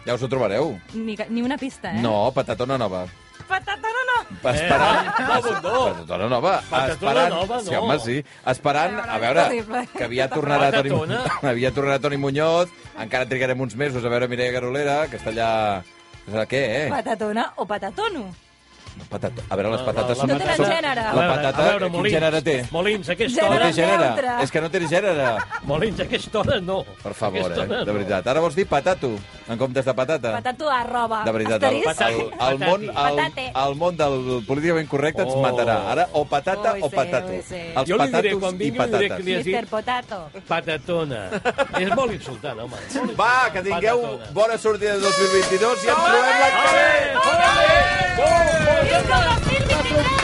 Speaker 3: Ja us ho trobareu.
Speaker 6: ni, ca- ni una pista, eh?
Speaker 3: No, patatona nova.
Speaker 6: Patatona no!
Speaker 3: Esperant...
Speaker 4: Eh? Ah, botó!
Speaker 3: Patatona nova.
Speaker 4: Patatona
Speaker 3: esperant...
Speaker 4: nova,
Speaker 3: Sí,
Speaker 4: no.
Speaker 3: home, sí. Esperant, a veure,
Speaker 6: Terrible.
Speaker 3: que aviat tornarà Toni...
Speaker 4: Patatona.
Speaker 3: aviat tornarà Toni Muñoz, encara trigarem uns mesos a veure Mireia Garolera, que està allà... No sé Què, eh?
Speaker 6: Patatona o patatono.
Speaker 3: Patat... A veure, les
Speaker 4: No,
Speaker 3: patates...
Speaker 4: la-
Speaker 3: són-
Speaker 4: la
Speaker 6: patata-
Speaker 3: són-
Speaker 6: gènere.
Speaker 4: A
Speaker 3: La
Speaker 4: veure,
Speaker 3: patata,
Speaker 4: a veure,
Speaker 3: quin
Speaker 4: Molins,
Speaker 3: gènere té?
Speaker 4: Molins, aquesta
Speaker 6: Gènere
Speaker 3: No
Speaker 4: hora...
Speaker 3: té gènere.
Speaker 6: neutre.
Speaker 3: És que no té gènere.
Speaker 4: Molins, aquesta hora no.
Speaker 3: Per favor,
Speaker 4: Aquesta
Speaker 3: eh?
Speaker 4: hora
Speaker 3: De
Speaker 4: no.
Speaker 3: veritat. Ara vols dir patato, en comptes de patata.
Speaker 6: Patato arroba.
Speaker 3: De veritat, el,
Speaker 6: Asterisc.
Speaker 3: el, el, món, el,
Speaker 6: Patate.
Speaker 3: el món del políticament correcte ens
Speaker 4: Oh.
Speaker 3: matarà. Ara, o patata
Speaker 6: Oi,
Speaker 3: o
Speaker 6: sí,
Speaker 3: patato.
Speaker 6: oi, sí.
Speaker 3: Els
Speaker 4: Jo li diré,
Speaker 3: patatos
Speaker 4: quan
Speaker 3: i
Speaker 4: vingui, li diré que
Speaker 3: patates.
Speaker 4: li-
Speaker 6: Mr. Potato.
Speaker 4: Patatona. és molt insultant, home. Molt
Speaker 3: Va, que tingueu
Speaker 4: Patatona.
Speaker 3: bona sortida de 2022 i ens trobem l'any que ve!
Speaker 4: Ole! Ole! Ole!
Speaker 6: Fins al 2023!